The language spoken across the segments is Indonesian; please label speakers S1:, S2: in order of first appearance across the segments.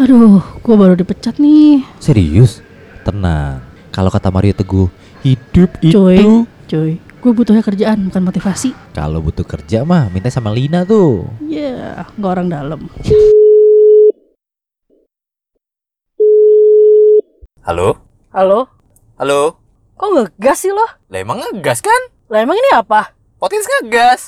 S1: Aduh, gua baru dipecat nih.
S2: Serius? Tenang. Kalau kata Mario Teguh, hidup
S3: Gitu.
S1: Cuy,
S2: itu
S1: cuy. Gue butuhnya kerjaan, bukan motivasi.
S2: kalau butuh kerja mah minta sama Lina tuh.
S1: Ya, nggak orang dalam.
S4: Halo?
S3: Halo?
S4: Halo?
S3: Kok ngegas sih lo?
S4: Lah emang ngegas kan?
S3: Lah emang ini apa?
S4: Podcast ngegas.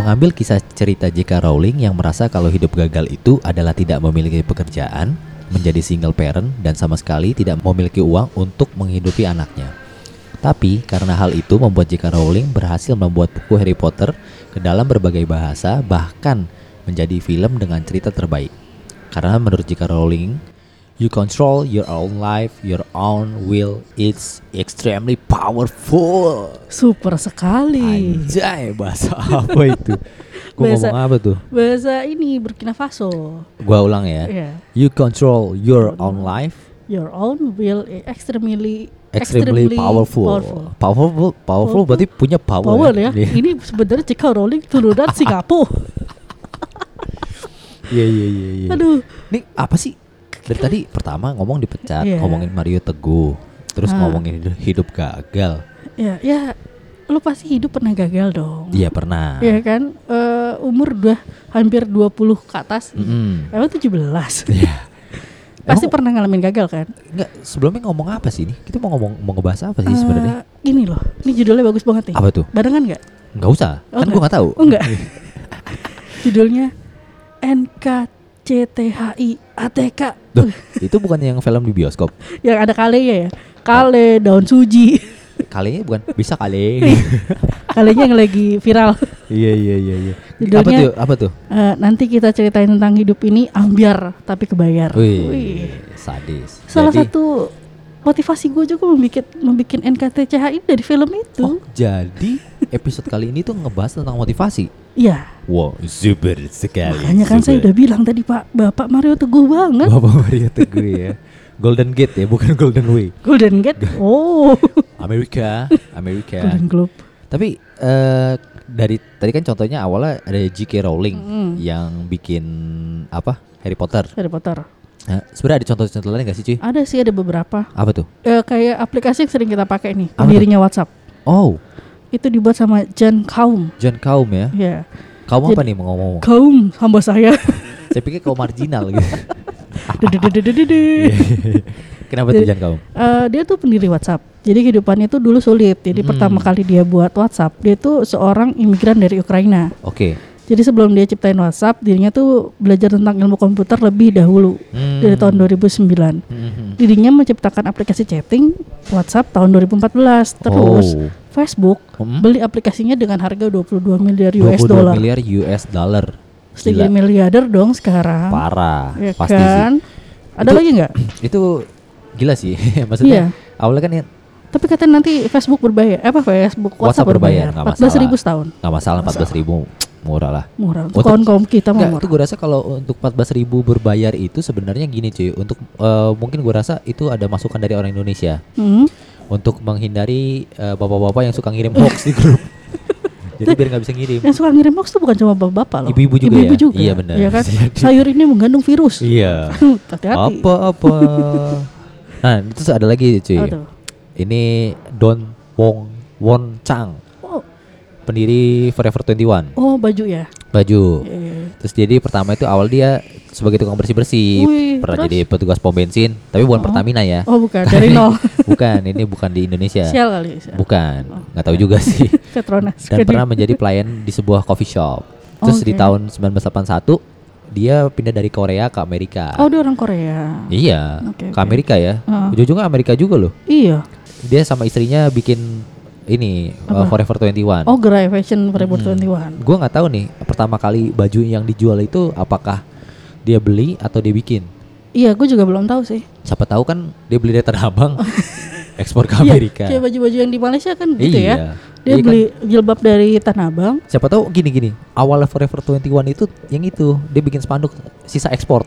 S2: Mengambil kisah cerita J.K. Rowling yang merasa kalau hidup gagal itu adalah tidak memiliki pekerjaan, menjadi single parent, dan sama sekali tidak memiliki uang untuk menghidupi anaknya. Tapi karena hal itu membuat J.K. Rowling berhasil membuat buku Harry Potter ke dalam berbagai bahasa, bahkan menjadi film dengan cerita terbaik. Karena menurut J.K. Rowling, you control your own life, your own will, it's extremely powerful.
S1: Super sekali.
S2: Anjay, bahasa apa itu? Gue
S1: Bahasa-
S2: ngomong apa tuh?
S1: Bahasa ini Burkina Faso.
S2: Gua ulang ya.
S1: Ya.
S3: Iya.
S2: You control your own life.
S1: Your own will is extremely
S2: Extremely, powerful.
S1: powerful.
S2: powerful. Powerful, berarti punya power.
S1: Power ya.
S3: Iya.
S1: Ini sebenarnya J.K. Rowling turunan Singapura.
S2: Iya iya iya iya.
S1: Aduh.
S2: Nih apa sih? Dari tadi pertama ngomong dipecat,
S1: Iya.
S2: ngomongin Mario Teguh, terus
S1: Ah.
S2: ngomongin hidup- hidup gagal.
S1: Ya, ya lu pasti hidup pernah gagal dong.
S2: Iya pernah.
S1: Ya kan? Eh, umur udah hampir 20 ke atas.
S2: Mm-mm.
S1: Emang 17.
S2: Iya.
S1: Pasti
S2: Emang-
S1: pernah ngalamin gagal kan?
S2: Enggak, sebelumnya ngomong apa sih ini? Kita mau ngomong mau ngebahas apa sih Iya, sebenarnya?
S1: Eh, Gini loh, ini judulnya bagus banget nih.
S2: Apa tuh?
S1: Barengan nggak?
S2: Enggak usah.
S1: Oh,
S2: kan gua enggak tahu.
S1: Oh enggak. judulnya NKCTHI ATK.
S2: Duh, itu bukan yang film di bioskop.
S1: Yang ada kalenya ya. Kale daun suji.
S2: Kalinya bukan bisa kali.
S1: Kalenya yang lagi viral.
S2: Iya iya iya iya. Apa
S1: Judulnya-
S2: tuh? Apa tuh?
S1: Eh, nanti kita ceritain tentang hidup ini ambiar tapi kebayar. Wih.
S2: Wih, sadis.
S1: Salah
S2: Jadi-
S1: satu motivasi gue juga membuat membuat NKTCHI dari film
S2: Oh,
S1: itu.
S2: jadi episode kali ini tuh ngebahas tentang motivasi.
S1: Iya,
S2: Wow, super sekali.
S1: makanya kan saya udah bilang tadi Pak, Bapak Mario teguh banget.
S2: Bapak Mario Teguh ya. Golden Gate ya, bukan Golden Ya. Way.
S1: Golden Gate. Oh,
S2: Amerika, Amerika.
S1: Golden Globe.
S2: Tapi eh dari tadi kan contohnya awalnya ada J.K. Rowling
S1: Mm.
S2: yang bikin apa? Harry Potter.
S1: Harry Potter.
S2: Nah, sebenarnya ada contoh-contoh lain gak sih cuy?
S1: Ada sih ada beberapa.
S2: Apa tuh?
S1: Eh, kayak aplikasi yang sering kita pakai nih,
S2: Apa
S1: pendirinya WhatsApp.
S2: Oh,
S1: Itu dibuat sama Jan Kaum.
S2: John Kaum ya.
S1: Ya,
S2: Kaum apa
S1: Jadi-
S2: nih mau ngomong?
S1: Kaum hamba saya.
S2: Saya pikir kaum marginal gitu. Iya.
S1: Dededededede.
S2: Kenapa tuh John Kaum?
S1: Eh, dia tuh pendiri WhatsApp. Jadi kehidupannya tuh dulu sulit. Jadi
S2: Hmm.
S1: pertama kali dia buat WhatsApp, dia tuh seorang imigran dari Ukraina.
S2: Oke.
S1: Jadi sebelum dia ciptain WhatsApp, dirinya tuh belajar tentang ilmu komputer lebih dahulu
S2: Hmm.
S1: dari tahun 2009.
S2: Mhm.
S1: Dirinya menciptakan aplikasi chatting WhatsApp tahun 2014. Terus
S2: Oh.
S1: Facebook
S2: Hmm.
S1: beli aplikasinya dengan harga 22 miliar US
S2: 22
S1: dollar.
S2: miliar US dollar.
S1: 3
S2: Gila,
S1: miliarder dong sekarang.
S2: parah.
S1: Ya
S2: Pasti
S1: kan? Ada
S2: Itu-
S1: lagi nggak?
S2: sih. Itu gila sih.
S1: Iya.
S2: Maksudnya awalnya kan ya
S1: Tapi katanya nanti Facebook berbayar. Eh, apa Facebook WhatsApp,
S2: WhatsApp berbayar,
S1: berbayar?
S2: nggak
S1: 14 ribu
S2: masalah.
S1: setahun.
S2: nggak masalah 14 ribu murah lah.
S1: Murah.
S2: Oh,
S1: Untuk kaum kaum kita mah
S2: Enggak, itu
S1: murah.
S2: gue rasa kalau untuk 14 ribu berbayar itu sebenarnya gini cuy. Untuk eh, mungkin gue rasa itu ada masukan dari orang Indonesia
S1: Hmm.
S2: untuk menghindari eh, bapak-bapak yang suka ngirim hoax di grup. Jadi biar nggak bisa ngirim.
S1: Yang suka ngirim hoax tuh bukan cuma bapak-bapak loh.
S2: Ibu-ibu juga ya? Iya,
S1: Iya
S2: benar.
S1: kan?
S2: Jadi-
S1: Sayur ini mengandung virus.
S2: Iya.
S1: Hati-hati.
S2: Apa-apa. nah, itu ada lagi cuy.
S1: Apa tuh?
S2: Ini Don Wong Won Chang,
S1: Oh,
S2: pendiri Forever 21.
S1: oh, baju ya.
S2: Baju.
S1: Iya, iya, iya.
S2: Terus jadi pertama itu awal dia sebagai tukang bersih-bersih,
S1: Wih,
S2: pernah
S1: terus?
S2: jadi petugas pom bensin, tapi bukan
S1: Oh.
S2: Pertamina ya.
S1: Oh bukan dari nol.
S2: bukan, ini bukan di Indonesia.
S1: Sial kali. sial.
S2: Bukan, nggak tahu juga sih.
S1: Petronas. Oh.
S2: Dan
S1: Jadi-
S2: pernah menjadi pelayan di sebuah coffee shop. Terus di
S1: Oke.
S2: tahun 1981 dia pindah dari Korea ke Amerika.
S1: Oh dia orang Korea.
S2: Iya,
S1: Oke,
S2: ke
S1: oke.
S2: Amerika ya.
S1: Heeh.
S2: Ujung-ujungnya Amerika juga loh.
S1: Iya.
S2: Dia sama istrinya bikin ini uh,
S1: Apa?
S2: Forever 21.
S1: Oh gerai fashion Forever 21.
S2: Gua nggak tahu nih pertama kali baju yang dijual itu apakah dia beli atau dia bikin.
S1: Iya, gue juga belum tahu sih.
S2: Siapa tahu kan dia beli dari Tanah Abang ekspor ke
S1: Iya,
S2: Amerika.
S1: kayak baju-baju yang di Malaysia kan gitu
S2: iya.
S1: ya. Dia
S2: Iya kan?
S1: beli jilbab dari Tanah Abang.
S2: Siapa tahu gini-gini. Awalnya Forever 21 itu yang itu, dia bikin spanduk sisa ekspor.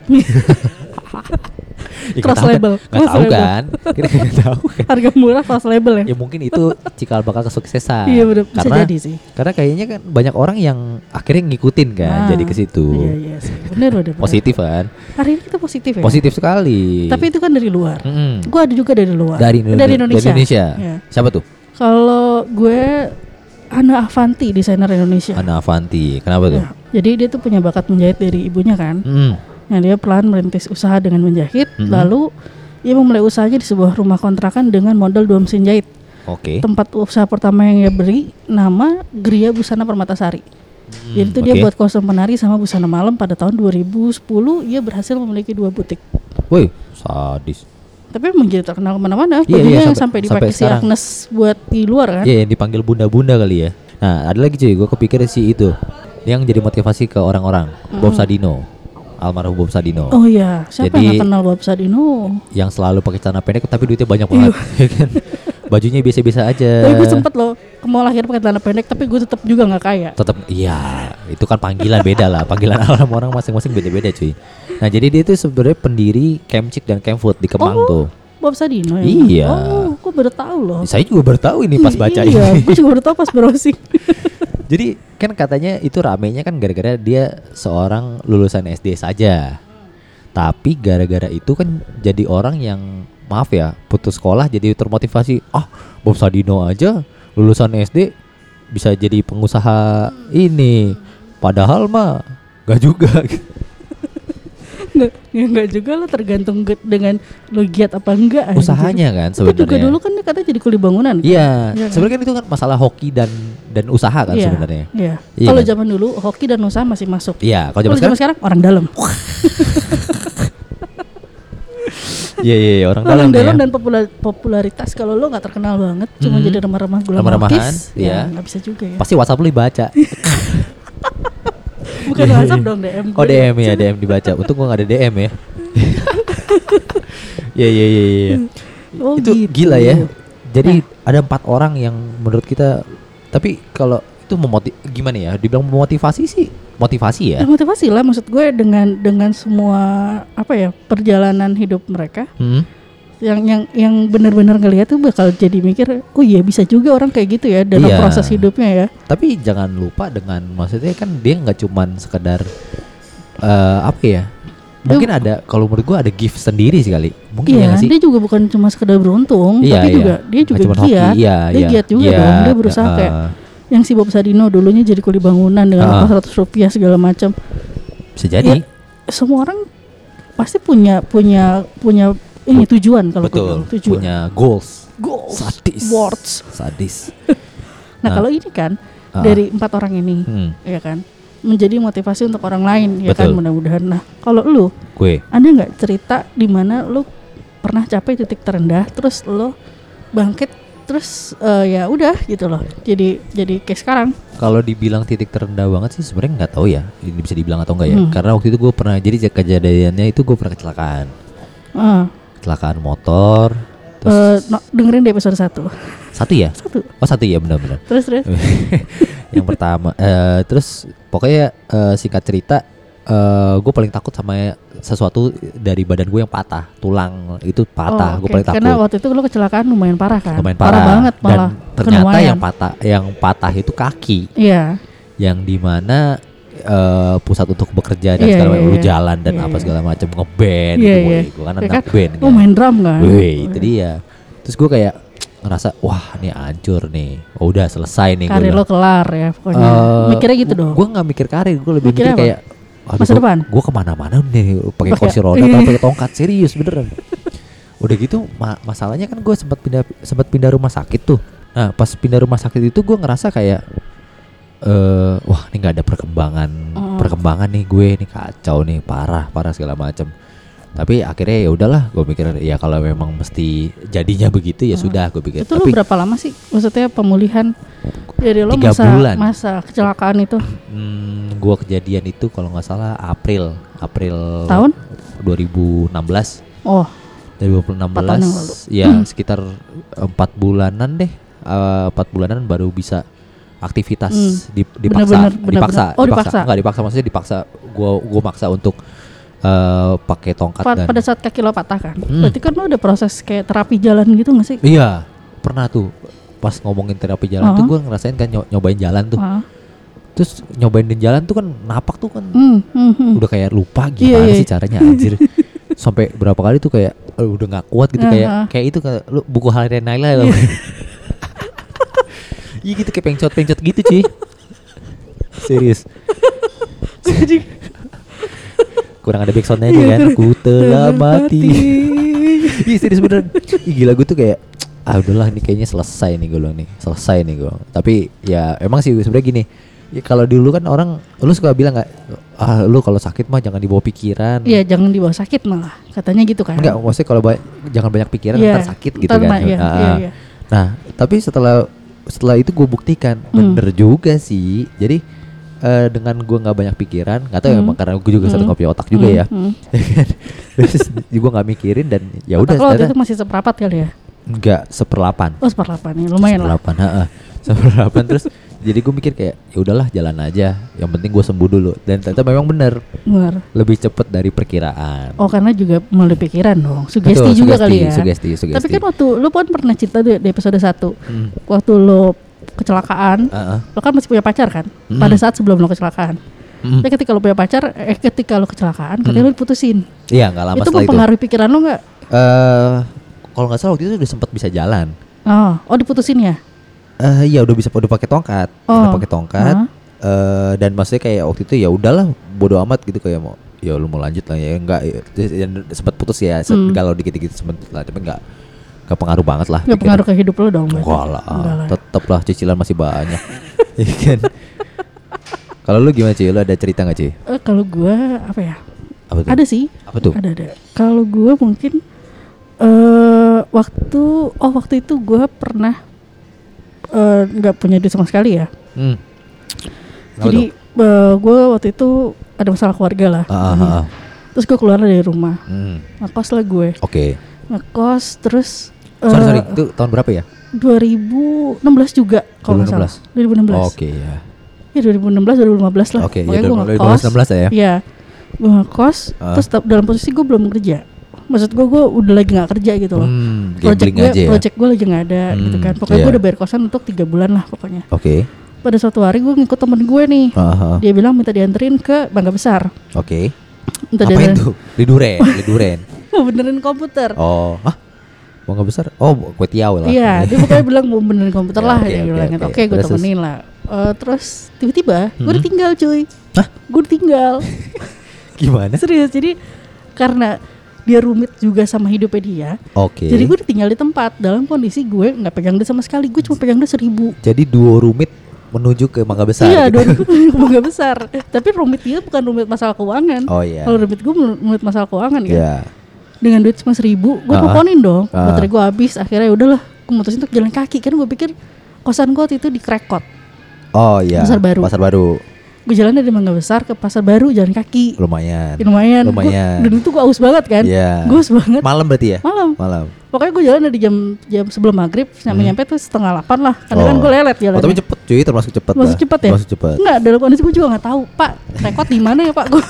S2: Ya, nggak
S1: Cross
S2: tahu kan.
S1: label,
S2: Nggak
S1: cross
S2: tahu
S1: label.
S2: kan? Kita nggak tahu kan?
S1: Harga murah fast label ya.
S2: Ya mungkin itu cikal bakal kesuksesan.
S1: Iya bener, bisa
S2: Karena
S1: jadi sih.
S2: karena kayaknya kan banyak orang yang akhirnya ngikutin
S1: Ah,
S2: kan, jadi ke situ.
S1: Iya iya sih. Bener bener. bener.
S2: Positif kan?
S1: Hari ini kita positif ya.
S2: Positif sekali.
S1: Tapi itu kan dari luar.
S2: Mm-mm.
S1: Gue ada juga dari luar.
S2: dari,
S1: dari Indonesia. Iya.
S2: Siapa tuh?
S1: Kalau gue Ana Avanti desainer Indonesia.
S2: Ana Avanti. Kenapa tuh?
S1: Ya. Jadi dia tuh punya bakat menjahit dari ibunya kan.
S2: Mm-mm.
S1: Nah dia pelan merintis usaha dengan menjahit.
S2: Mhm.
S1: Lalu ia memulai usahanya di sebuah rumah kontrakan dengan modal dua mesin jahit.
S2: Oke.
S1: Tempat usaha pertama yang ia beri nama Gria Busana Permatasari.
S2: Mm,
S1: Jadi itu dia
S2: oke.
S1: buat kostum penari sama busana malam pada tahun 2010 ia berhasil memiliki dua butik.
S2: Woi, sadis.
S1: Tapi emang jadi terkenal kemana-mana.
S2: Iya, iya,
S1: Bajunya yang
S2: sampai-
S1: sampai dipakai
S2: sampai
S1: si
S2: sekarang.
S1: Agnes buat di luar kan.
S2: Iya, yang dipanggil bunda-bunda kali ya. Nah, ada lagi cuy, gue kepikir si itu yang jadi motivasi ke orang-orang, Bob Sadino, almarhum Bob Sadino,
S1: Hmm. Oh iya, siapa
S2: Jadi-
S1: yang gak kenal Bob Sadino?
S2: yang selalu pakai celana pendek tapi duitnya banyak banget, ya kan? Bajunya biasa-biasa aja.
S1: Tapi gue Oh, iya, sempet loh ke mall akhir pakai celana pendek, tapi gue tetap juga nggak kaya.
S2: tetap iya itu kan panggilan beda lah panggilan alam orang masing-masing beda-beda cuy nah jadi dia itu sebenarnya pendiri Kemcik dan Kemfood di Kemang
S1: Oh.
S2: tuh
S1: Bob Sadino ya?
S2: Iya.
S1: Oh, gue baru tahu loh.
S2: saya juga baru tahu ini pas baca
S1: iya,
S2: ini
S1: gue juga baru tahu pas browsing.
S2: jadi kan katanya itu ramenya kan gara-gara dia seorang lulusan SD saja tapi gara-gara itu kan jadi orang yang maaf ya putus sekolah jadi termotivasi ah Bob Sadino aja lulusan SD bisa jadi pengusaha ini padahal mah gak juga
S1: Nggak, ya nggak juga lo tergantung ge- dengan lo giat apa enggak. anjir.
S2: usahanya kan
S1: Itu juga
S2: sebenarnya.
S1: dulu kan dia katanya jadi kuli bangunan.
S2: Iya,
S1: Iya kan?
S2: sebenarnya kan itu kan masalah hoki dan dan usaha kan
S1: Iya,
S2: sebenarnya.
S1: Iya.
S2: Iya
S1: Kalau
S2: kan?
S1: zaman dulu hoki dan usaha masih masuk. Kalau
S2: Iya, kalau zaman sekarang,
S1: zaman sekarang orang dalam.
S2: iya iya iya, orang dalam
S1: Orang dalam
S2: ya.
S1: dan popula- popularitas kalau lo nggak terkenal banget, cuma
S2: Mhm.
S1: jadi remah-remah gula
S2: Remah-remahan,
S1: melukis,
S2: iya.
S1: ya nggak bisa juga ya.
S2: Pasti WhatsApp lu dibaca.
S1: Bukan
S2: Iya, iya.
S1: WhatsApp dong DM.
S2: Oh
S1: gue.
S2: DM ya, DM dibaca. Untung gua gak ada DM ya. Iya iya iya iya.
S1: Oh, gitu.
S2: Itu
S1: Nah.
S2: gila ya. Jadi ada empat orang yang menurut kita tapi kalau itu memotiv gimana ya? Dibilang memotivasi sih, motivasi ya.
S1: Ya, motivasi lah maksud gue dengan dengan semua apa ya perjalanan hidup mereka
S2: Hmm.
S1: yang yang yang benar-benar ngelihat tuh bakal jadi mikir oh iya bisa juga orang kayak gitu ya dalam
S2: Iya.
S1: proses hidupnya ya
S2: tapi jangan lupa dengan maksudnya kan dia nggak cuman sekedar eh, apa ya mungkin ada kalau menurut gua ada gift sendiri sih kali mungkin ya
S1: iya
S2: nggak sih
S1: dia juga bukan cuma sekedar beruntung
S2: Iya,
S1: tapi
S2: iya.
S1: juga dia
S2: Nggak
S1: juga
S2: cuman
S1: giat
S2: hoki, iya,
S1: dia
S2: iya.
S1: giat juga dong dia berusaha
S2: heeh.
S1: kayak yang si Bob Sadino dulunya jadi kuli bangunan
S2: Ah.
S1: dengan empat 400 rupiah segala macam
S2: bisa
S1: Ya,
S2: jadi
S1: semua orang pasti punya punya punya ini tujuan kalau gue
S2: betul
S1: bilang, tujuan
S2: punya goals
S1: goals
S2: sadis
S1: Oh, words
S2: sadis
S1: Nah,
S2: Nah.
S1: kalau ini kan
S2: Ah.
S1: dari empat orang ini,
S2: hmm,
S1: ya kan, menjadi motivasi untuk orang lain, ya kan,
S2: Betul.
S1: mudah-mudahan. Nah, kalau lu
S2: gue
S1: ada nggak cerita di mana lu pernah capek titik terendah, terus lu bangkit, terus eh, ya udah gitu loh. Jadi jadi kayak sekarang.
S2: kalau dibilang titik terendah banget sih sebenarnya nggak tahu ya ini bisa dibilang atau enggak ya
S1: Hmm.
S2: karena waktu itu gue pernah jadi kejadiannya itu gue pernah kecelakaan Ah.
S1: Eh,
S2: kecelakaan motor terus
S1: eh, no- dengerin di episode satu,
S2: satu ya
S1: satu.
S2: oh satu ya benar-benar
S1: Terus terus.
S2: yang pertama eh, terus pokoknya eh, singkat cerita eh, gue paling takut sama sesuatu dari badan gue yang patah tulang itu patah
S1: Oh,
S2: gue
S1: oke.
S2: paling takut
S1: Karena waktu itu lu kecelakaan lumayan parah kan?
S2: lumayan parah,
S1: banget
S2: dan
S1: malah.
S2: ternyata
S1: Kenuaian.
S2: yang patah yang patah itu kaki
S1: Iya.
S2: yang dimana eh, pusat untuk bekerja dan
S1: Iya,
S2: segala
S1: iya,
S2: macam lu
S1: iya.
S2: jalan dan
S1: Iya,
S2: apa
S1: iya.
S2: segala macam ngeband
S1: Iya,
S2: gitu
S1: iya.
S2: gue kan
S1: Ya
S2: anak
S1: kan?
S2: band
S1: Lu
S2: kan.
S1: main drum kan?
S2: Wih, itu dia terus gue kayak ngerasa wah ini hancur nih oh, udah selesai nih gua
S1: Karir
S2: bilang.
S1: lo kelar ya pokoknya.
S2: Eh,
S1: Mikirnya gitu dong.
S2: Gue nggak mikir karir, gue lebih
S1: Mikirnya
S2: mikir
S1: apa?
S2: kayak aduh,
S1: Masa
S2: gua-
S1: depan?
S2: Gue kemana-mana nih, pakai
S1: Pakai-
S2: kursi roda atau pakai tongkat serius beneran. Udah gitu ma- masalahnya kan gue sempat pindah sempat pindah rumah sakit tuh. Nah pas pindah rumah sakit itu gue ngerasa kayak eh wah ini nggak ada perkembangan
S1: Mm.
S2: perkembangan nih gue ini kacau nih parah parah segala macem tapi akhirnya ya udahlah gue mikir ya kalau memang mesti jadinya begitu ya sudah gue
S1: Ah.
S2: pikir
S1: itu lu
S2: tapi
S1: berapa lama sih maksudnya pemulihan dari lo
S2: Tiga
S1: masa
S2: bulan.
S1: masa kecelakaan itu
S2: Hmm, gua kejadian itu kalau nggak salah April, April
S1: Tahun?
S2: 2016.
S1: oh
S2: Dari
S1: Empat tahun yang Hmm. lalu.
S2: 2016 ya sekitar empat bulanan deh. Eh, Empat bulanan baru bisa aktivitas
S1: Hmm.
S2: di- dipaksa,
S1: Bener-bener, bener-bener.
S2: dipaksa,
S1: Oh,
S2: dipaksa.
S1: dipaksa.
S2: Nggak dipaksa maksudnya dipaksa gua gua maksa untuk eh, pakai tongkat
S1: Pa-
S2: dan
S1: pada saat kaki lo patah kan
S2: Hmm.
S1: berarti kan lo udah proses kayak terapi jalan gitu gak sih
S2: Iya, pernah tuh pas ngomongin terapi jalan tuh
S1: Oh.
S2: gue ngerasain kan nyo- nyobain jalan tuh.
S1: Wah.
S2: Terus nyobain di jalan tuh kan napak tuh kan
S1: Hmm, hmm, hmm.
S2: udah kayak lupa
S1: Iya,
S2: gimana
S1: iya.
S2: sih caranya anjir. Sampai berapa kali tuh kayak eh, udah nggak kuat gitu kayak
S1: Aha.
S2: kayak itu kayak lu buku harian Naila loh. Iya gitu kayak pencot-pencot gitu, Ci. Serius.
S1: Jadi,
S2: Kurang ada backsoundnya aja kan.
S1: Iya.
S2: Ku telah mati. Iya serius bener Ih, Gila gue tuh kayak Ah udahlah nih kayaknya selesai nih gue bilang nih Selesai nih gue Tapi ya emang sih sebenarnya gini ya, Kalau dulu kan orang Lu suka bilang gak Ah lu kalau sakit mah jangan dibawa pikiran
S1: Iya jangan dibawa sakit malah katanya gitu kan.
S2: Enggak maksudnya kalau ba- jangan banyak pikiran
S1: Iya,
S2: ntar sakit gitu
S1: ntar
S2: kan
S1: ma- iya,
S2: Ah,
S1: iya,
S2: ah.
S1: iya.
S2: Nah tapi setelah setelah itu gue buktikan
S1: Hmm.
S2: Bener juga sih Jadi eh, dengan gue nggak banyak pikiran Gak tau ya
S1: Hmm.
S2: emang karena gue juga sering
S1: Hmm.
S2: ngopi otak juga
S1: Hmm,
S2: ya
S1: hmm.
S2: Terus gue nggak mikirin dan ya udah
S1: Otak lo waktu
S2: ternyata
S1: itu masih seperapat kali ya?
S2: nggak seperlapan
S1: Oh seperlapan ya lumayan lah.
S2: Seperdelapan, heeh. Seperdelapan, terus jadi gue mikir kayak ya udahlah jalan aja. Yang penting gue sembuh dulu. Dan ternyata memang bener
S1: Bener.
S2: lebih cepet dari perkiraan.
S1: Oh karena juga melalui pikiran dong. Sugesti
S2: Betul,
S1: juga
S2: sugesti,
S1: kali ya.
S2: Sugesti, sugesti.
S1: Tapi kan waktu lu pun pernah cerita tuh di episode 1
S2: Hmm,
S1: waktu lo kecelakaan,
S2: heeh.
S1: lo kan masih punya pacar kan?
S2: Ah. Hmm.
S1: Pada saat sebelum lo kecelakaan.
S2: Hmm.
S1: Tapi ketika lo punya pacar, eh ketika lo kecelakaan, katanya lo
S2: Hmm.
S1: diputusin.
S2: Iya nggak lama
S1: itu
S2: setelah itu.
S1: mempengaruhi pikiran lo nggak?
S2: Eh, kalau nggak salah waktu itu udah sempat bisa jalan.
S1: Oh, oh diputusin ya?
S2: Eh, iya udah bisa udah pakai tongkat, udah
S1: Oh.
S2: pakai tongkat.
S1: Hah?
S2: Eh, dan maksudnya kayak waktu itu ya udahlah bodo amat gitu kayak mau ya lu mau lanjut lah ya enggak ya. Terus yang sempat putus ya se-
S1: Hmm.
S2: kalau dikit-dikit sempat lah tapi enggak enggak pengaruh banget lah
S1: Nggak
S2: pikiran.
S1: pengaruh ke hidup lo dong? berarti?
S2: Enggak lah,
S1: Enggak lah. ya.
S2: tetep lah cicilan masih banyak. Iya kan? Kalau lu gimana Ci? Lu ada cerita gak Ci?
S1: Eh, kalau gue apa ya?
S2: Apa tuh?
S1: Ada sih.
S2: Apa tuh?
S1: Ada ada. Kalau gue mungkin eh waktu oh waktu itu gue pernah eh, nggak punya duit sama sekali ya.
S2: Hmm. Kenapa
S1: Jadi
S2: tuh?
S1: gue waktu itu ada masalah keluarga lah.
S2: Ah, ah, ah, ah.
S1: Terus gue keluar dari rumah.
S2: Hmm.
S1: Ngekos lah gue.
S2: Oke.
S1: Ngekos terus eh,
S2: Oh. Sorry, sorry. Itu tahun berapa ya?
S1: 2016 juga kalau nggak salah. 2016.
S2: Oke ya.
S1: Ya 2016 2015 lah.
S2: Oke, ya
S1: Pokoknya gue
S2: 2015
S1: ngekos.
S2: 2016 ya.
S1: Iya, gue ngekos,
S2: Ah.
S1: terus ta- dalam posisi gue belum kerja. Maksud gue, gue udah lagi nggak kerja gitu loh.
S2: Hmm,
S1: Project
S2: gambling
S1: gue,
S2: aja ya.
S1: project gue lagi nggak ada gitu
S2: Hmm,
S1: kan. Pokoknya
S2: iya.
S1: gue udah bayar kosan untuk tiga bulan lah pokoknya.
S2: Oke.
S1: Pada suatu hari gue ngikut temen gue nih.
S2: Ah, ah,
S1: Dia bilang minta dianterin ke Bangga Besar.
S2: Oke.
S1: Minta
S2: Apain
S1: dianterin
S2: tuh? Di Duren, di Duren.
S1: mau benerin komputer.
S2: Oh, ah. Bangga besar. Oh, kue tiaw lah.
S1: Iya, dia pokoknya bilang mau benerin komputer
S2: Ya,
S1: lah.
S2: oke,
S1: dia
S2: oke,
S1: bilang,
S2: oke.
S1: oke gue
S2: Terus, terus.
S1: temenin lah. Eh, terus tiba-tiba gue
S2: Mhm.
S1: ditinggal cuy.
S2: Hah?
S1: Gue ditinggal. Nah,
S2: Gimana?
S1: Serius, jadi karena dia rumit juga sama hidupnya dia.
S2: Oke.
S1: Jadi gue ditinggal di tempat dalam kondisi gue nggak pegang duit sama sekali. Gue cuma pegang duit seribu.
S2: Jadi duo rumit menuju ke Mangga Besar.
S1: Iya,
S2: gitu.
S1: dua ribu nggak besar. Tapi rumit dia bukan rumit masalah keuangan.
S2: Oh iya.
S1: Kalau rumit gue rumit masalah keuangan kan.
S2: Iya.
S1: Dengan duit cuma seribu, gue
S2: Ah.
S1: teleponin dong.
S2: Ah.
S1: Baterai gue habis. Akhirnya ya udahlah, gue mutusin untuk jalan kaki. Kan gue pikir kosan gue waktu itu di Krekot.
S2: Oh iya.
S1: Pasar Baru.
S2: Pasar Baru.
S1: Gue jalan dari Mangga Besar ke Pasar Baru jalan kaki.
S2: Lumayan.
S1: Ya, lumayan. Gua-
S2: Lumayan.
S1: dan itu gue haus banget kan.
S2: Iya.
S1: Gue haus banget.
S2: Malam berarti ya?
S1: Malam.
S2: Malam.
S1: Pokoknya gue jalan dari jam jam sebelum maghrib sampai nyampe tuh setengah delapan lah. Karena kan
S2: Hmm. Oh.
S1: gue lelet
S2: Oh,
S1: jalan.
S2: tapi cepet cuy, termasuk cepet.
S1: Termasuk
S2: lah.
S1: cepet ya?
S2: Termasuk cepet.
S1: Enggak, dalam kondisi gue juga nggak tahu, Pak. Rekod di mana ya, Pak? Gue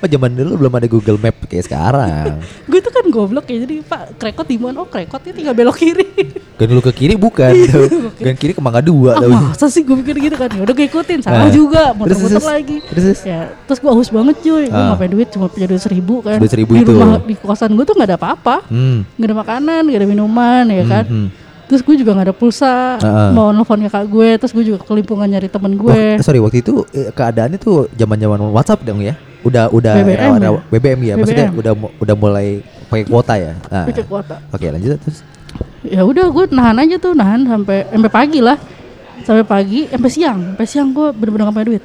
S2: Oh, zaman dulu belum ada Google Map kayak sekarang.
S1: gue tuh kan goblok ya. Jadi, Pak, rekod di mana? Oh, rekodnya tinggal belok kiri.
S2: Gan dulu ke kiri bukan. tuh. Gan kiri ke Mangga 2
S1: ah, masa sih gue pikir gitu kan. Ya udah gue ikutin, salah
S2: Ah.
S1: juga,
S2: Terus,
S1: muter-muter
S2: terus,
S1: lagi.
S2: terus, terus?
S1: Ya, terus gue haus banget, cuy. Gue
S2: Ah.
S1: ngapain duit, cuma punya duit seribu kan.
S2: Duit seribu
S1: di
S2: itu.
S1: rumah di kosan gue tuh nggak ada apa-apa.
S2: Hmm.
S1: nggak ada makanan, nggak ada minuman, ya kan.
S2: Hmm, hmm.
S1: Terus gue juga nggak ada pulsa,
S2: Ah, ah.
S1: mau nelfon kakak gue, terus gue juga kelimpungan nyari temen gue.
S2: Wah, sorry waktu itu eh, keadaannya tuh zaman-zaman WhatsApp dong ya. Udah udah
S1: BBM
S2: era- era-
S1: ya?
S2: BBM ya. Maksudnya
S1: BBM.
S2: udah mu- udah mulai pakai kuota ya. Nah.
S1: Pakai kuota.
S2: Oke, lanjut terus.
S1: ya udah gue nahan aja tuh nahan sampai sampai pagi lah sampai pagi sampai siang sampai siang gue bener-bener gak punya duit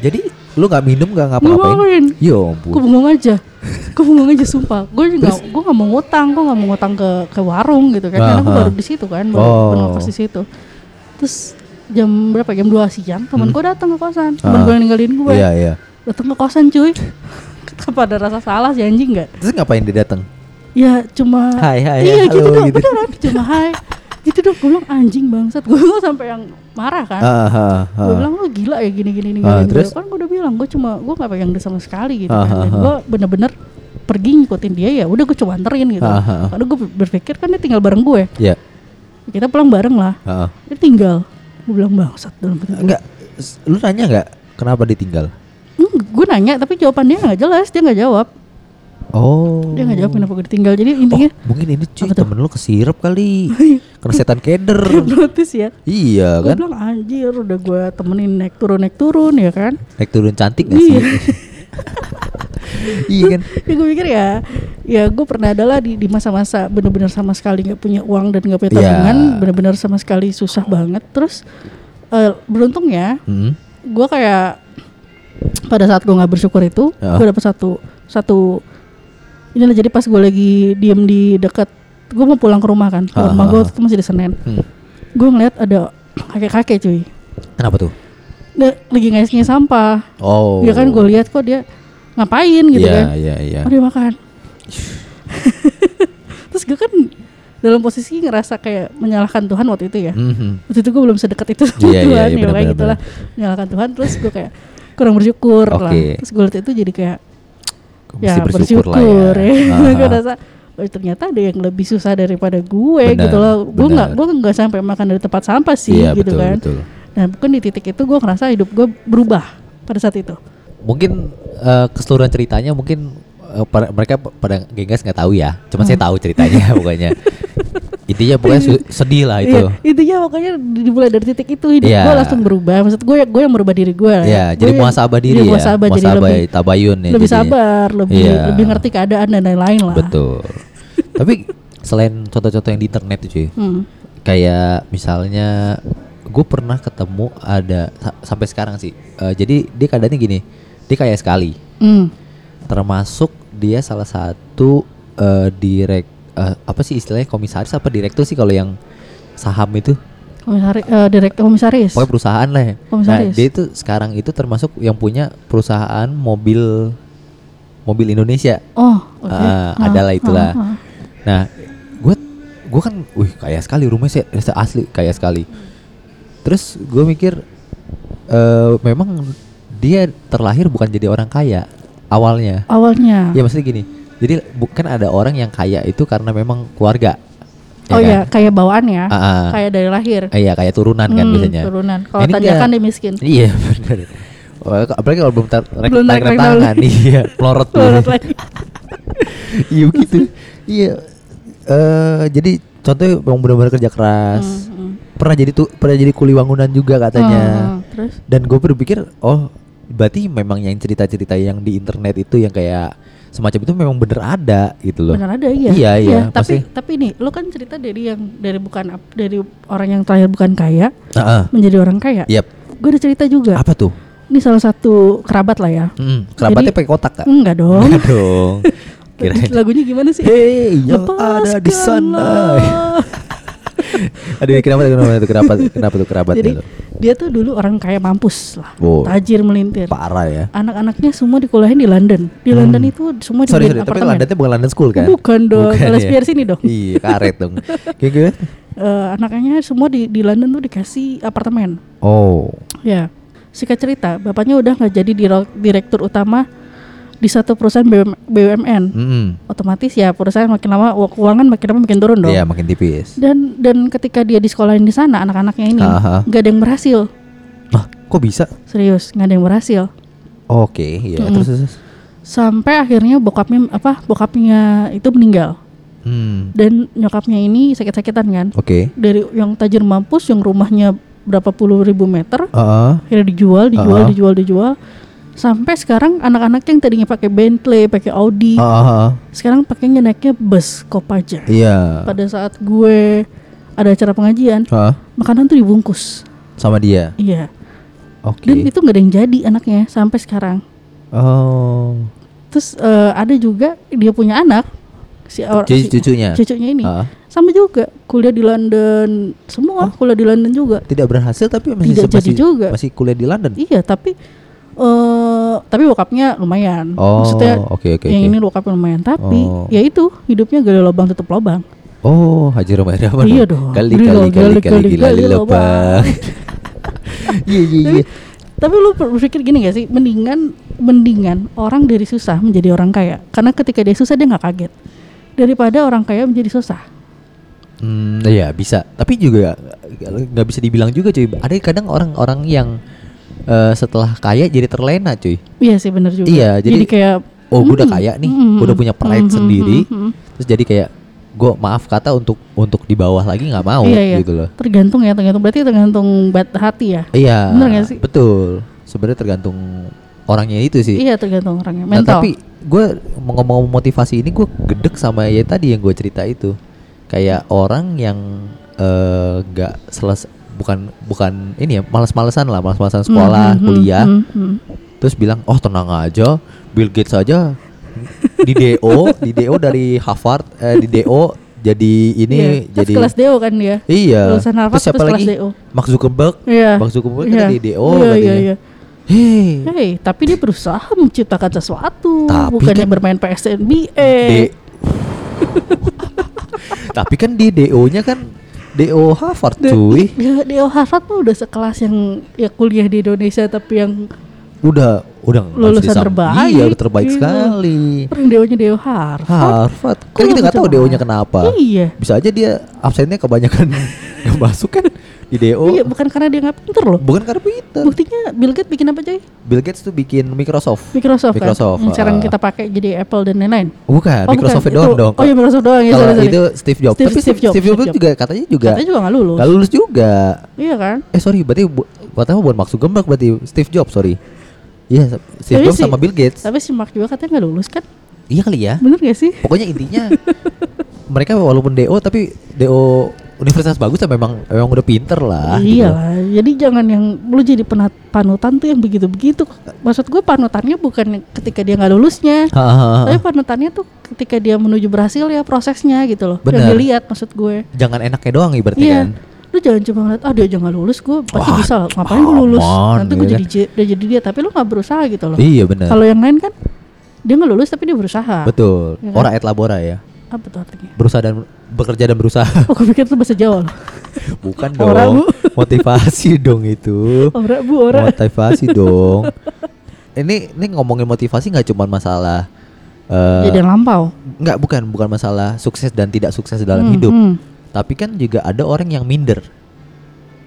S2: Jadi lu nggak minum nggak
S1: Nggak
S2: ngapa-ngapain?
S1: ngapa-ngapain.
S2: Yo
S1: gue
S2: ampun.
S1: bengong aja gue bengong aja sumpah gue nggak gue nggak mau ngutang gue nggak mau ngutang ke ke warung gitu kan karena gue
S2: Aha.
S1: baru di situ kan baru
S2: Oh.
S1: pernah di situ terus jam berapa jam 2 siang teman gue datang ke kosan teman
S2: Hmm. Ah.
S1: gue yang ninggalin gue
S2: Iya iya.
S1: datang ke kosan cuy apa ada rasa salah sih anjing nggak
S2: Terus ngapain dia datang?
S1: ya cuma
S2: Hai, hai,
S1: iya
S2: halo,
S1: gitu dong
S2: gitu.
S1: beneran cuma hai gitu dong gue bilang anjing bangsat gue sampai yang marah kan
S5: Ah, ah,
S1: gue
S5: ah.
S1: bilang lu gila ya gini gini gini,
S5: Ah,
S1: gini."
S5: terus?
S1: kan gue udah bilang gue cuma gue nggak pegang dia sama sekali gitu
S5: Ah,
S1: kan
S5: ah,
S1: dan
S5: ah.
S1: gue bener-bener pergi ngikutin dia ya udah gue coba anterin gitu
S5: Ah, ah, ah.
S1: karena gue berpikir kan dia tinggal bareng gue
S2: Ya,
S5: Iya.
S1: kita pulang bareng lah
S5: Ah, ah.
S1: dia tinggal gue bilang bangsat dalam hati gue
S5: Enggak, s- lu nanya nggak kenapa ditinggal?
S1: "Hmm, gue nanya tapi jawaban dia nggak jelas dia nggak jawab
S5: Oh.
S1: dia nggak jawab kenapa gue ditinggal jadi intinya
S5: Oh, mungkin ini cuy
S1: Apa tuh?
S5: temen lu kesirep kali Kena setan keder
S1: hipnotis ya
S5: Iya
S1: gue
S5: kan
S1: bilang anjir udah gue temenin naik turun naik turun ya kan
S5: Naik turun cantik gak sih? iya kan
S1: ya gue pikir ya ya gue pernah adalah di di masa-masa bener-bener sama sekali nggak punya uang dan nggak punya
S5: Iya.
S1: tabungan bener-bener sama sekali susah banget terus eh, beruntung ya
S5: Hmm.
S1: gue kayak pada saat gue nggak bersyukur itu
S5: Ya.
S1: gue dapet satu satu inilah jadi pas gue lagi diem di dekat gue mau pulang ke rumah kan ke
S5: Ah, ah,
S1: rumah gue
S5: ah.
S1: itu masih di Senen
S5: Hmm.
S1: gue ngeliat ada kakek-kakek cuy
S5: Kenapa tuh?
S1: Nah, lagi ngasihnya sampah
S5: Oh
S1: ya kan gue lihat kok dia ngapain gitu
S5: Iya
S1: kan
S5: iya iya
S1: Oh dia makan. Terus gue kan dalam posisi ngerasa kayak menyalahkan Tuhan waktu itu ya.
S2: Hmm,
S5: Mhm.
S1: Waktu itu gue belum sedekat itu
S5: Iya,
S1: sama
S5: iya,
S1: Tuhan
S5: iya,
S1: ya kayak
S5: benar-benar.
S1: gitulah menyalahkan Tuhan. Terus gue kayak kurang bersyukur lah.
S5: Oke.
S1: Terus gue liat itu jadi kayak
S5: Kok
S1: ya
S5: mesti
S1: bersyukur,
S5: lah
S1: ya.
S2: Ah,
S5: Aha.
S1: gue rasa oh, ternyata ada yang lebih susah daripada gue
S5: Benar,
S1: gitu loh. Gue nggak
S5: benar.
S1: gue nggak sampai makan dari tempat sampah sih
S5: Iya
S1: gitu
S5: betul
S1: kan.
S5: betul
S1: Nah mungkin di titik itu gue ngerasa hidup gue berubah pada saat itu.
S2: Mungkin eh, keseluruhan ceritanya mungkin eh, para- mereka p- pada genggas nggak tahu ya. Cuman saya
S1: Hmm.
S2: tahu ceritanya pokoknya. Intinya pokoknya su- sedih lah Ah, itu.
S1: Iya, intinya pokoknya di- dimulai dari titik itu hidup
S2: Iya.
S1: gue langsung berubah. Maksud gue gue yang merubah diri gue. lah
S2: Ya,
S1: Gue
S2: jadi
S1: yang-
S2: muhasabah diri
S1: jadi
S2: ya.
S1: muhasabah, jadi
S2: Muhasabah
S1: lebih,
S2: tabayun ya.
S1: lebih
S2: jadinya.
S1: sabar, lebih
S2: Iya.
S1: lebih ngerti keadaan dan lain-lain lah.
S2: Betul. Tapi selain contoh-contoh yang di internet tuh cuy,
S1: Hmm.
S2: kayak misalnya gue pernah ketemu ada sa- sampai sekarang sih. Eh, jadi dia keadaannya gini, dia kayak sekali.
S1: Hmm.
S2: Termasuk dia salah satu eh, direk eh, apa sih istilahnya komisaris apa direktur sih kalau yang saham itu
S1: Komisari, eh, direktur komisaris.
S2: pokoknya perusahaan lah ya.
S1: Komisaris.
S2: Nah, dia itu sekarang itu termasuk yang punya perusahaan mobil mobil Indonesia.
S1: Oh, oke.
S2: Ah,
S1: Ah,
S2: adalah itulah.
S1: ah, ah.
S2: Nah, gue gue kan, wih kaya sekali rumahnya se- se- asli kaya sekali. Terus gue mikir, eh memang dia terlahir bukan jadi orang kaya awalnya.
S1: Awalnya.
S2: Ya maksudnya gini, jadi bukan ada orang yang kaya itu karena memang keluarga.
S1: oh ya, kayak bawaan ya.
S2: iya kan? Ah, ah.
S1: Kayak dari lahir.
S2: Ah, iya, kayak turunan kan
S1: Hmm,
S2: biasanya.
S1: Turunan. Kalau
S2: Ini
S1: tadi kan
S2: enggak.
S1: dia miskin.
S2: Iya benar. Wah, Apalagi kalau belum tarik
S1: Belum
S2: tarik
S1: tarik-tarik
S2: tangan,
S1: tangan.
S2: iya, melorot dulu.
S1: Turun lagi.
S2: Iya begitu. Iya. Eh jadi contohnya memang benar-benar kerja keras.
S1: Hmm, hmm.
S2: Pernah jadi tuh pernah jadi kuli bangunan juga katanya.
S1: Ah, terus
S2: Dan gue berpikir, oh berarti memang yang cerita-cerita yang di internet itu yang kayak semacam itu memang bener ada gitu loh.
S1: Benar ada iya.
S2: Iya, iya,
S1: Tapi
S2: maksudnya-
S1: tapi nih, lo kan cerita dari yang dari bukan ap- dari orang yang terakhir bukan kaya
S2: Heeh.
S1: menjadi orang kaya.
S2: Yap.
S1: Gue udah cerita juga.
S2: Apa tuh?
S1: Ini salah satu kerabat lah ya.
S2: Hmm,
S1: Jadi-
S2: kerabatnya
S1: Oh.
S2: pakai kotak kak?
S1: Enggak dong.
S2: Enggak dong. Kirain.
S1: Lagunya gimana sih?
S2: Hei, yang ada di sana. Iya,
S1: Lepaskanlah.
S2: Aduh, kenapa kenapa tuh kerabat? Kenapa tuh kerabatnya
S1: Jadi
S2: tuh?
S1: dia tuh dulu orang kaya mampus lah.
S2: Wow.
S1: Tajir melintir.
S2: Parah ya.
S1: Anak-anaknya semua dikuliahin di London. Di London itu semua di
S2: Hmm. Sorry, sorry, tapi Londonnya bukan London School kan?
S1: Bukan dong,
S2: Bukan ya.
S1: LSPR sini dong.
S2: Iya, karet dong. Kayak gitu.
S1: Eh, anaknya semua di di London tuh dikasih apartemen.
S2: Oh.
S1: Ya, singkat cerita, bapaknya udah nggak jadi diro- direktur utama di satu perusahaan BUM- BUMN.
S2: Mm
S1: Otomatis ya perusahaan makin lama wa- keuangan makin lama makin turun dong.
S2: Iya, makin tipis.
S1: Dan dan ketika dia di sekolahin di sana anak-anaknya ini
S2: Aha.
S1: nggak ada yang berhasil.
S2: Mah, kok bisa?
S1: Serius, nggak ada yang berhasil.
S2: Oke, iya.
S1: Mm-mm.
S2: Terus, terus.
S1: Sampai akhirnya bokapnya apa? Bokapnya itu meninggal
S2: Hmm.
S1: dan nyokapnya ini sakit-sakitan kan.
S2: Oke.
S1: Dari yang tajir mampus yang rumahnya berapa puluh ribu meter
S2: Heeh.
S1: akhirnya dijual, dijual,
S2: Ah.
S1: dijual, dijual. Sampai sekarang anak-anak yang tadinya pakai Bentley, pakai Audi,
S2: Heeh.
S1: sekarang pakainya naiknya bus Kopaja.
S2: Iya.
S1: Pada saat gue ada acara pengajian,
S2: Heeh.
S1: makanan tuh dibungkus.
S2: Sama dia.
S1: Iya. Dan
S2: Oke.
S1: itu nggak ada yang jadi anaknya sampai sekarang.
S2: Oh.
S1: Terus eh, ada juga dia punya anak si orang
S2: Jadi cucunya.
S1: cucunya ini
S2: Ah. Oh.
S1: sama juga kuliah di London semua kuliah di London juga
S2: Tidak berhasil tapi masih
S1: Tidak jadi
S2: masih,
S1: juga.
S2: masih kuliah di London.
S1: iya tapi eh tapi bokapnya lumayan
S2: Oh,
S1: maksudnya
S2: oke oke
S1: yang
S2: oke.
S1: ini bokapnya lumayan tapi
S2: Oh.
S1: ya itu hidupnya gali lubang tutup lubang
S2: Oh, Haji Romero apa?
S1: Iya
S2: dong?
S1: dong.
S2: Kali
S1: Gali,
S2: kali kali
S1: gali,
S2: kali
S1: gali,
S2: kali
S1: gali,
S2: lubang. Iya iya iya.
S1: Tapi lu berpikir gini gak sih, mendingan mendingan orang dari susah menjadi orang kaya, karena ketika dia susah dia nggak kaget. Daripada orang kaya menjadi susah.
S2: Hmm, iya bisa. Tapi juga nggak bisa dibilang juga cuy. Ada kadang orang-orang yang eh, setelah kaya jadi terlena cuy.
S1: Iya sih bener juga.
S2: Iya, jadi-
S1: kayak hmm,
S2: Oh gue udah
S1: Mm-mm.
S2: kaya nih,
S1: Mm-mm.
S2: gue udah punya pride
S1: Mm-mm.
S2: sendiri.
S1: Mm-mm.
S2: Terus jadi kayak gue maaf kata untuk untuk di bawah lagi nggak mau
S1: Iya, iya.
S2: gitu loh.
S1: Tergantung ya, tergantung berarti tergantung bat hati ya.
S2: Iya.
S1: Bener nggak sih?
S2: Betul. Sebenarnya tergantung orangnya itu sih.
S1: Iya tergantung orangnya.
S2: Nah,
S1: Mental.
S2: tapi gue ngomong motivasi ini gue gedek sama ya tadi yang gue cerita itu kayak orang yang eh, nggak seles bukan bukan ini ya malas-malesan lah malas-malesan
S1: Mm,
S2: sekolah
S1: mm, mm,
S2: kuliah
S1: mm, mm.
S2: terus bilang oh tenang aja Bill Gates aja di DO di DO dari Harvard eh, di DO jadi ini
S1: Iya, kan
S2: jadi
S1: kelas DO kan dia.
S2: iya
S1: Lulusan Harvard
S2: terus siapa
S1: terus kelas
S2: lagi
S1: DO.
S2: Mark Zuckerberg
S1: Iya.
S2: Mark Zuckerberg
S1: Iya.
S2: kan di DO
S1: Iya,
S2: katanya
S1: iya, iya.
S2: hei
S1: Hei, tapi dia berusaha menciptakan sesuatu,
S2: Tapi
S1: bukannya
S2: kan-
S1: bermain PS NBA.
S2: D- Tapi kan di DO-nya kan DO Harvard
S1: Da-
S2: cuy.
S1: Da- DO Ya, Harvard mah udah sekelas yang ya kuliah di Indonesia tapi yang
S2: Udah udah nggak harus
S1: Lulusan
S2: disam-
S1: terbaik.
S2: Iya, udah terbaik
S1: Iya.
S2: sekali.
S1: orang DO-nya DO Harvard.
S2: Harvard.
S1: Kok
S2: Kan kita nggak tahu
S1: macam
S2: DO-nya
S1: mana?
S2: kenapa.
S1: Iya.
S2: Bisa aja dia absennya kebanyakan yang masuk kan di
S1: Iya,
S2: DO.
S1: bukan karena dia nggak pinter loh.
S2: Bukan karena pinter.
S1: Buktinya Bill Gates bikin apa coy?
S2: Bill Gates tuh bikin Microsoft.
S1: Microsoft,
S2: Microsoft,
S1: kan? Yang sekarang
S2: ah.
S1: kita pakai jadi Apple dan lain-lain.
S2: Bukan,
S1: Oh,
S2: Microsoft
S1: bukan,
S2: doang
S1: itu-
S2: dong.
S1: Oh iya Microsoft doang ya.
S2: Kalau
S1: sorry, sorry.
S2: itu Steve Jobs.
S1: Steve-
S2: Tapi
S1: Steve
S2: Steve,
S1: Jobs,
S2: Steve Jobs
S1: Steve Jobs.
S2: juga katanya juga
S1: katanya juga nggak lulus.
S2: nggak lulus juga.
S1: Iya kan?
S2: Eh sorry, berarti bu, pertama bukan Mark Zuckerberg berarti Steve Jobs sorry. Iya, Steve
S1: Tapi
S2: Jobs
S1: si-
S2: sama Bill Gates.
S1: Tapi si Mark juga katanya nggak lulus kan?
S2: Iya kali ya.
S1: Bener gak sih?
S2: Pokoknya intinya mereka walaupun DO tapi DO universitas bagus ya memang memang udah pinter lah. gitu.
S1: iya lah. Jadi jangan yang lu jadi penat, panutan tuh yang begitu-begitu. Maksud gue panutannya bukan ketika dia nggak lulusnya.
S2: Hahaha.
S1: Tapi panutannya tuh ketika dia menuju berhasil ya prosesnya gitu loh. Yang
S2: Bener.
S1: dilihat maksud gue.
S2: Jangan enaknya doang ibaratnya
S1: Iya.
S2: kan.
S1: Lu jangan cuma ngeliat, ah dia aja nggak lulus, gue pasti
S2: Wah,
S1: bisa. Ngapain gue lulus?
S2: aman,
S1: Nanti gue
S2: gitu
S1: jadi J- udah jadi dia. Tapi lu nggak berusaha gitu loh.
S2: Iya benar.
S1: Kalau yang lain kan dia nggak lulus tapi dia berusaha.
S2: Betul.
S1: Iya kan?
S2: Ora et labora ya.
S1: Apa tuh artinya?
S2: Berusaha dan bekerja dan berusaha.
S1: Oh, gue pikir itu bahasa Jawa loh.
S2: Bukan
S1: Ora, Bu.
S2: dong. Motivasi dong itu.
S1: Ora bu, ora.
S2: Motivasi dong. Ini ini ngomongin motivasi nggak cuma masalah eh,
S1: Jadi lampau.
S2: nggak bukan bukan masalah sukses dan tidak sukses dalam
S1: Hmm,
S2: hidup
S1: hmm.
S2: tapi kan juga ada orang yang minder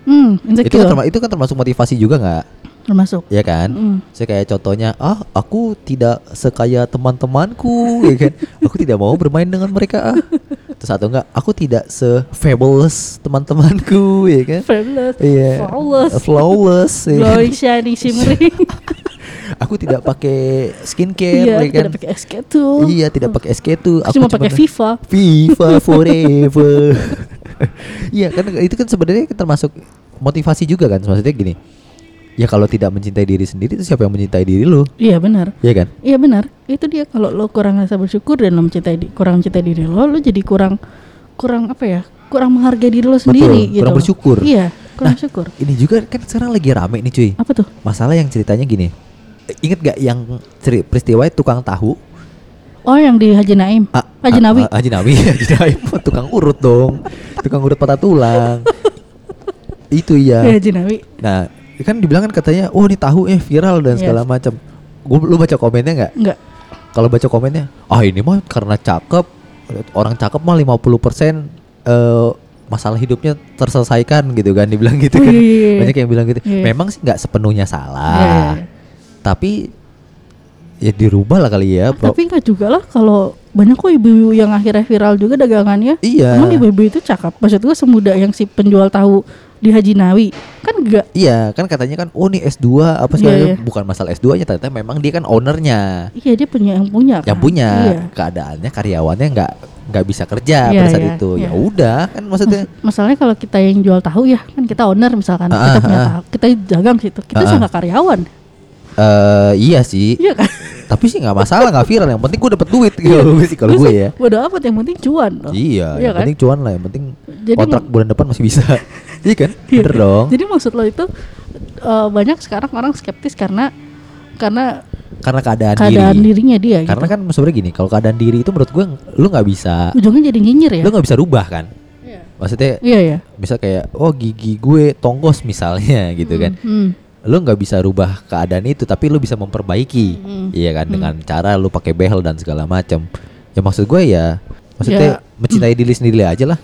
S1: Hmm,
S2: itu kan,
S1: insecure
S2: terma- itu kan termasuk motivasi juga nggak
S1: termasuk.
S2: ya kan
S1: Hmm.
S2: saya kayak contohnya ah aku tidak sekaya teman-temanku ya kan aku tidak mau bermain dengan mereka ah terus atau enggak aku tidak se fabulous teman-temanku ya kan
S1: Fabulous.
S2: Iya.
S1: Flawless.
S2: flawless ya kan?
S1: Glowing, shining, shimmering.
S2: aku tidak pakai skincare
S1: Iya,
S2: ya kan
S1: tidak pakai SK tuh.
S2: iya tidak pakai SK2
S1: Aku cuma pakai FIFA.
S2: FIFA forever. Iya kan itu kan sebenarnya termasuk motivasi juga kan maksudnya gini. Ya kalau tidak mencintai diri sendiri itu siapa yang mencintai diri lu?
S1: Iya benar.
S2: Iya kan?
S1: Iya benar. Itu dia kalau lo kurang rasa bersyukur dan lo mencintai di- kurang mencintai diri lo, lo jadi kurang kurang apa ya? Kurang menghargai diri lo sendiri gitu.
S2: kurang
S1: loh.
S2: bersyukur.
S1: Iya, kurang
S2: Nah.
S1: bersyukur.
S2: Ini juga kan sekarang lagi rame nih cuy.
S1: Apa tuh?
S2: Masalah yang ceritanya gini. Eh, Ingat gak yang ceri- peristiwa tukang tahu?
S1: Oh, yang di Haji Naim.
S2: Ah,
S1: Haji
S2: ah,
S1: Nawi.
S2: ah, Haji Nawi, Haji Nawi tukang urut dong. Tukang urut patah tulang. itu iya.
S1: Iya, Haji Nawi.
S2: Nah, kan dibilang kan katanya, "Oh, ini tahu eh viral dan
S1: Yes.
S2: segala macam." Gua lu baca komennya nggak?
S1: Enggak.
S2: Kalau baca komennya, "Ah, ini mah karena cakep. Orang cakep mah 50% eh masalah hidupnya terselesaikan gitu kan." Dibilang gitu kan.
S1: Wih.
S2: Banyak yang bilang gitu.
S1: Oh, Iya.
S2: Memang sih nggak sepenuhnya
S1: Iya, iya,
S2: salah.
S1: iya.
S2: Tapi ya dirubah lah kali ya, Bro.
S1: Tapi enggak juga lah kalau banyak kok ibu-ibu yang akhirnya viral juga dagangannya.
S2: Iya.
S1: Emang ibu-ibu itu cakep. Maksud gue semudah yang si penjual tahu di Haji Nawi kan enggak.
S2: Iya, kan katanya kan oh nih S2 apa segala
S1: Iya,
S2: macam."
S1: iya.
S2: bukan masalah S2-nya ternyata memang dia kan ownernya.
S1: Iya dia punya yang punya.
S2: yang
S1: kan?
S2: punya
S1: Iya.
S2: keadaannya karyawannya nggak nggak bisa kerja
S1: Iya,
S2: pada saat
S1: iya,
S2: itu
S1: iya.
S2: ya udah kan maksudnya
S1: Mas- masalahnya kalau kita yang jual tahu ya kan kita owner misalkan
S2: Ah,
S1: kita
S2: ah,
S1: punya
S2: ah.
S1: tahu, kita dagang situ kita
S2: Ah, ah.
S1: sih nggak karyawan
S2: eh iya sih
S1: iya kan
S2: tapi sih nggak masalah nggak viral yang penting gue dapet duit gitu sih kalau gue ya
S1: udah apa yang penting cuan loh.
S2: iya
S1: Iya
S2: yang
S1: kan?
S2: penting cuan lah yang penting
S1: Jadi
S2: kontrak bulan depan masih bisa iya kan
S1: Iya.
S2: bener dong
S1: jadi maksud lo itu eh, banyak sekarang orang skeptis karena karena
S2: karena keadaan,
S1: keadaan
S2: diri,
S1: dirinya dia
S2: karena
S1: gitu.
S2: kan sebenarnya gini kalau keadaan diri itu menurut gue lu nggak bisa Iya.
S1: ujungnya jadi nyinyir ya
S2: lu nggak bisa rubah kan
S1: Iya.
S2: maksudnya
S1: Iya ya.
S2: bisa kayak oh gigi gue tonggos misalnya gitu kan
S1: Hmm.
S2: lu nggak bisa rubah keadaan itu tapi lu bisa memperbaiki
S1: Hmm.
S2: iya kan dengan cara lu pakai behel dan segala macam ya maksud gue ya
S1: Ya.
S2: maksudnya mencintai diri sendiri aja lah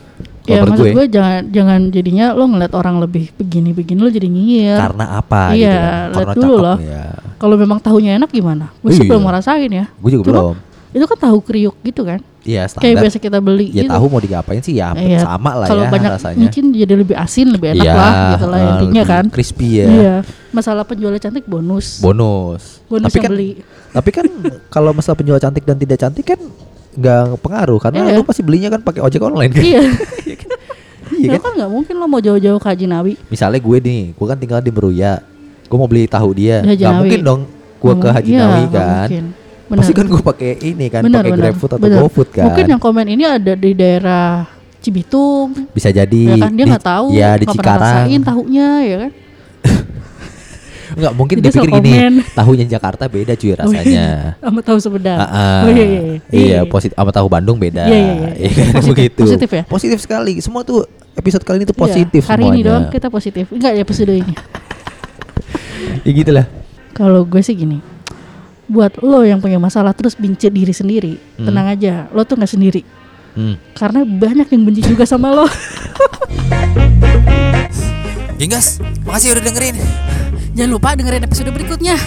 S1: Ya
S2: kalau menurut
S1: maksud gue jangan jangan jadinya lo ngeliat orang lebih begini-begini lo jadi ngiyir.
S2: karena apa gitu
S1: Iya,
S2: kan.
S1: lihat
S2: karena
S1: dulu
S2: cakep
S1: loh.
S2: ya
S1: Kalau memang tahunya enak gimana? Gue sih
S2: Iya.
S1: belum ngerasain ya.
S2: gue juga
S1: Cuma
S2: belum
S1: Itu kan tahu kriuk gitu kan?
S2: iya
S1: Kayak
S2: standar
S1: biasa kita beli
S2: ya
S1: gitu.
S2: tahu mau digapain sih ya hampir
S1: Iya,
S2: sama lah
S1: Kalau
S2: ya
S1: banyak
S2: rasanya
S1: mungkin jadi lebih asin, lebih enak
S2: Iya,
S1: lah gitu lah
S2: eh,
S1: intinya
S2: lebih
S1: kan.
S2: crispy ya
S1: Iya. Masalah penjualnya cantik bonus.
S2: bonus
S1: bonus
S2: tapi
S1: yang
S2: kan
S1: beli.
S2: tapi kan kalau masalah penjual cantik dan tidak cantik kan nggak pengaruh karena
S1: Iya.
S2: lu pasti belinya kan pakai ojek online kan
S1: iya. Ya
S2: Iya
S1: kan nggak mungkin lo mau jauh-jauh ke Haji Nawawi.
S2: misalnya gue nih, gue kan tinggal di Meruya, gue mau beli tahu dia,
S1: Di Haji
S2: nggak
S1: Nawawi.
S2: mungkin dong gue
S1: Nggak
S2: ke
S1: mung-
S2: Haji
S1: iya,
S2: Nawawi
S1: nggak
S2: kan,
S1: mungkin. Benar.
S2: pasti kan gue pakai ini kan,
S1: Benar,
S2: pakai
S1: benar.
S2: GrabFood atau
S1: Benar.
S2: GoFood kan,
S1: Mungkin yang komen ini ada di daerah Cibitung,
S2: bisa jadi,
S1: ya kan dia
S2: di-
S1: nggak tahu,
S2: ya di
S1: nggak pernah
S2: Cikarang,
S1: rasain tahunya ya kan.
S2: nggak mungkin
S1: Jadi
S2: dia pikir
S1: salah
S2: gini,
S1: komen.
S2: tahunya Jakarta beda cuy rasanya.
S1: Oh, iya. Sama tahu sebeda.
S2: Ah, ah.
S1: Oh, iya, iya, iya.
S2: iya, positif sama tahu Bandung beda,
S1: Iya, iya, iya.
S2: kan,
S1: Positif,
S2: begitu.
S1: positif ya?
S2: Positif sekali, semua tuh episode kali ini tuh
S1: Iya,
S2: positif
S1: Hari
S2: semuanya.
S1: ini doang kita positif. Enggak ya episode ini.
S2: Ya gitu lah.
S1: Kalau gue sih gini. Buat lo yang punya masalah terus benci diri sendiri,
S2: Hmm.
S1: tenang aja. Lo tuh nggak sendiri.
S2: Hmm.
S1: Karena banyak yang benci juga sama lo.
S6: Gingas, makasih udah dengerin.
S1: Jangan lupa dengerin episode berikutnya.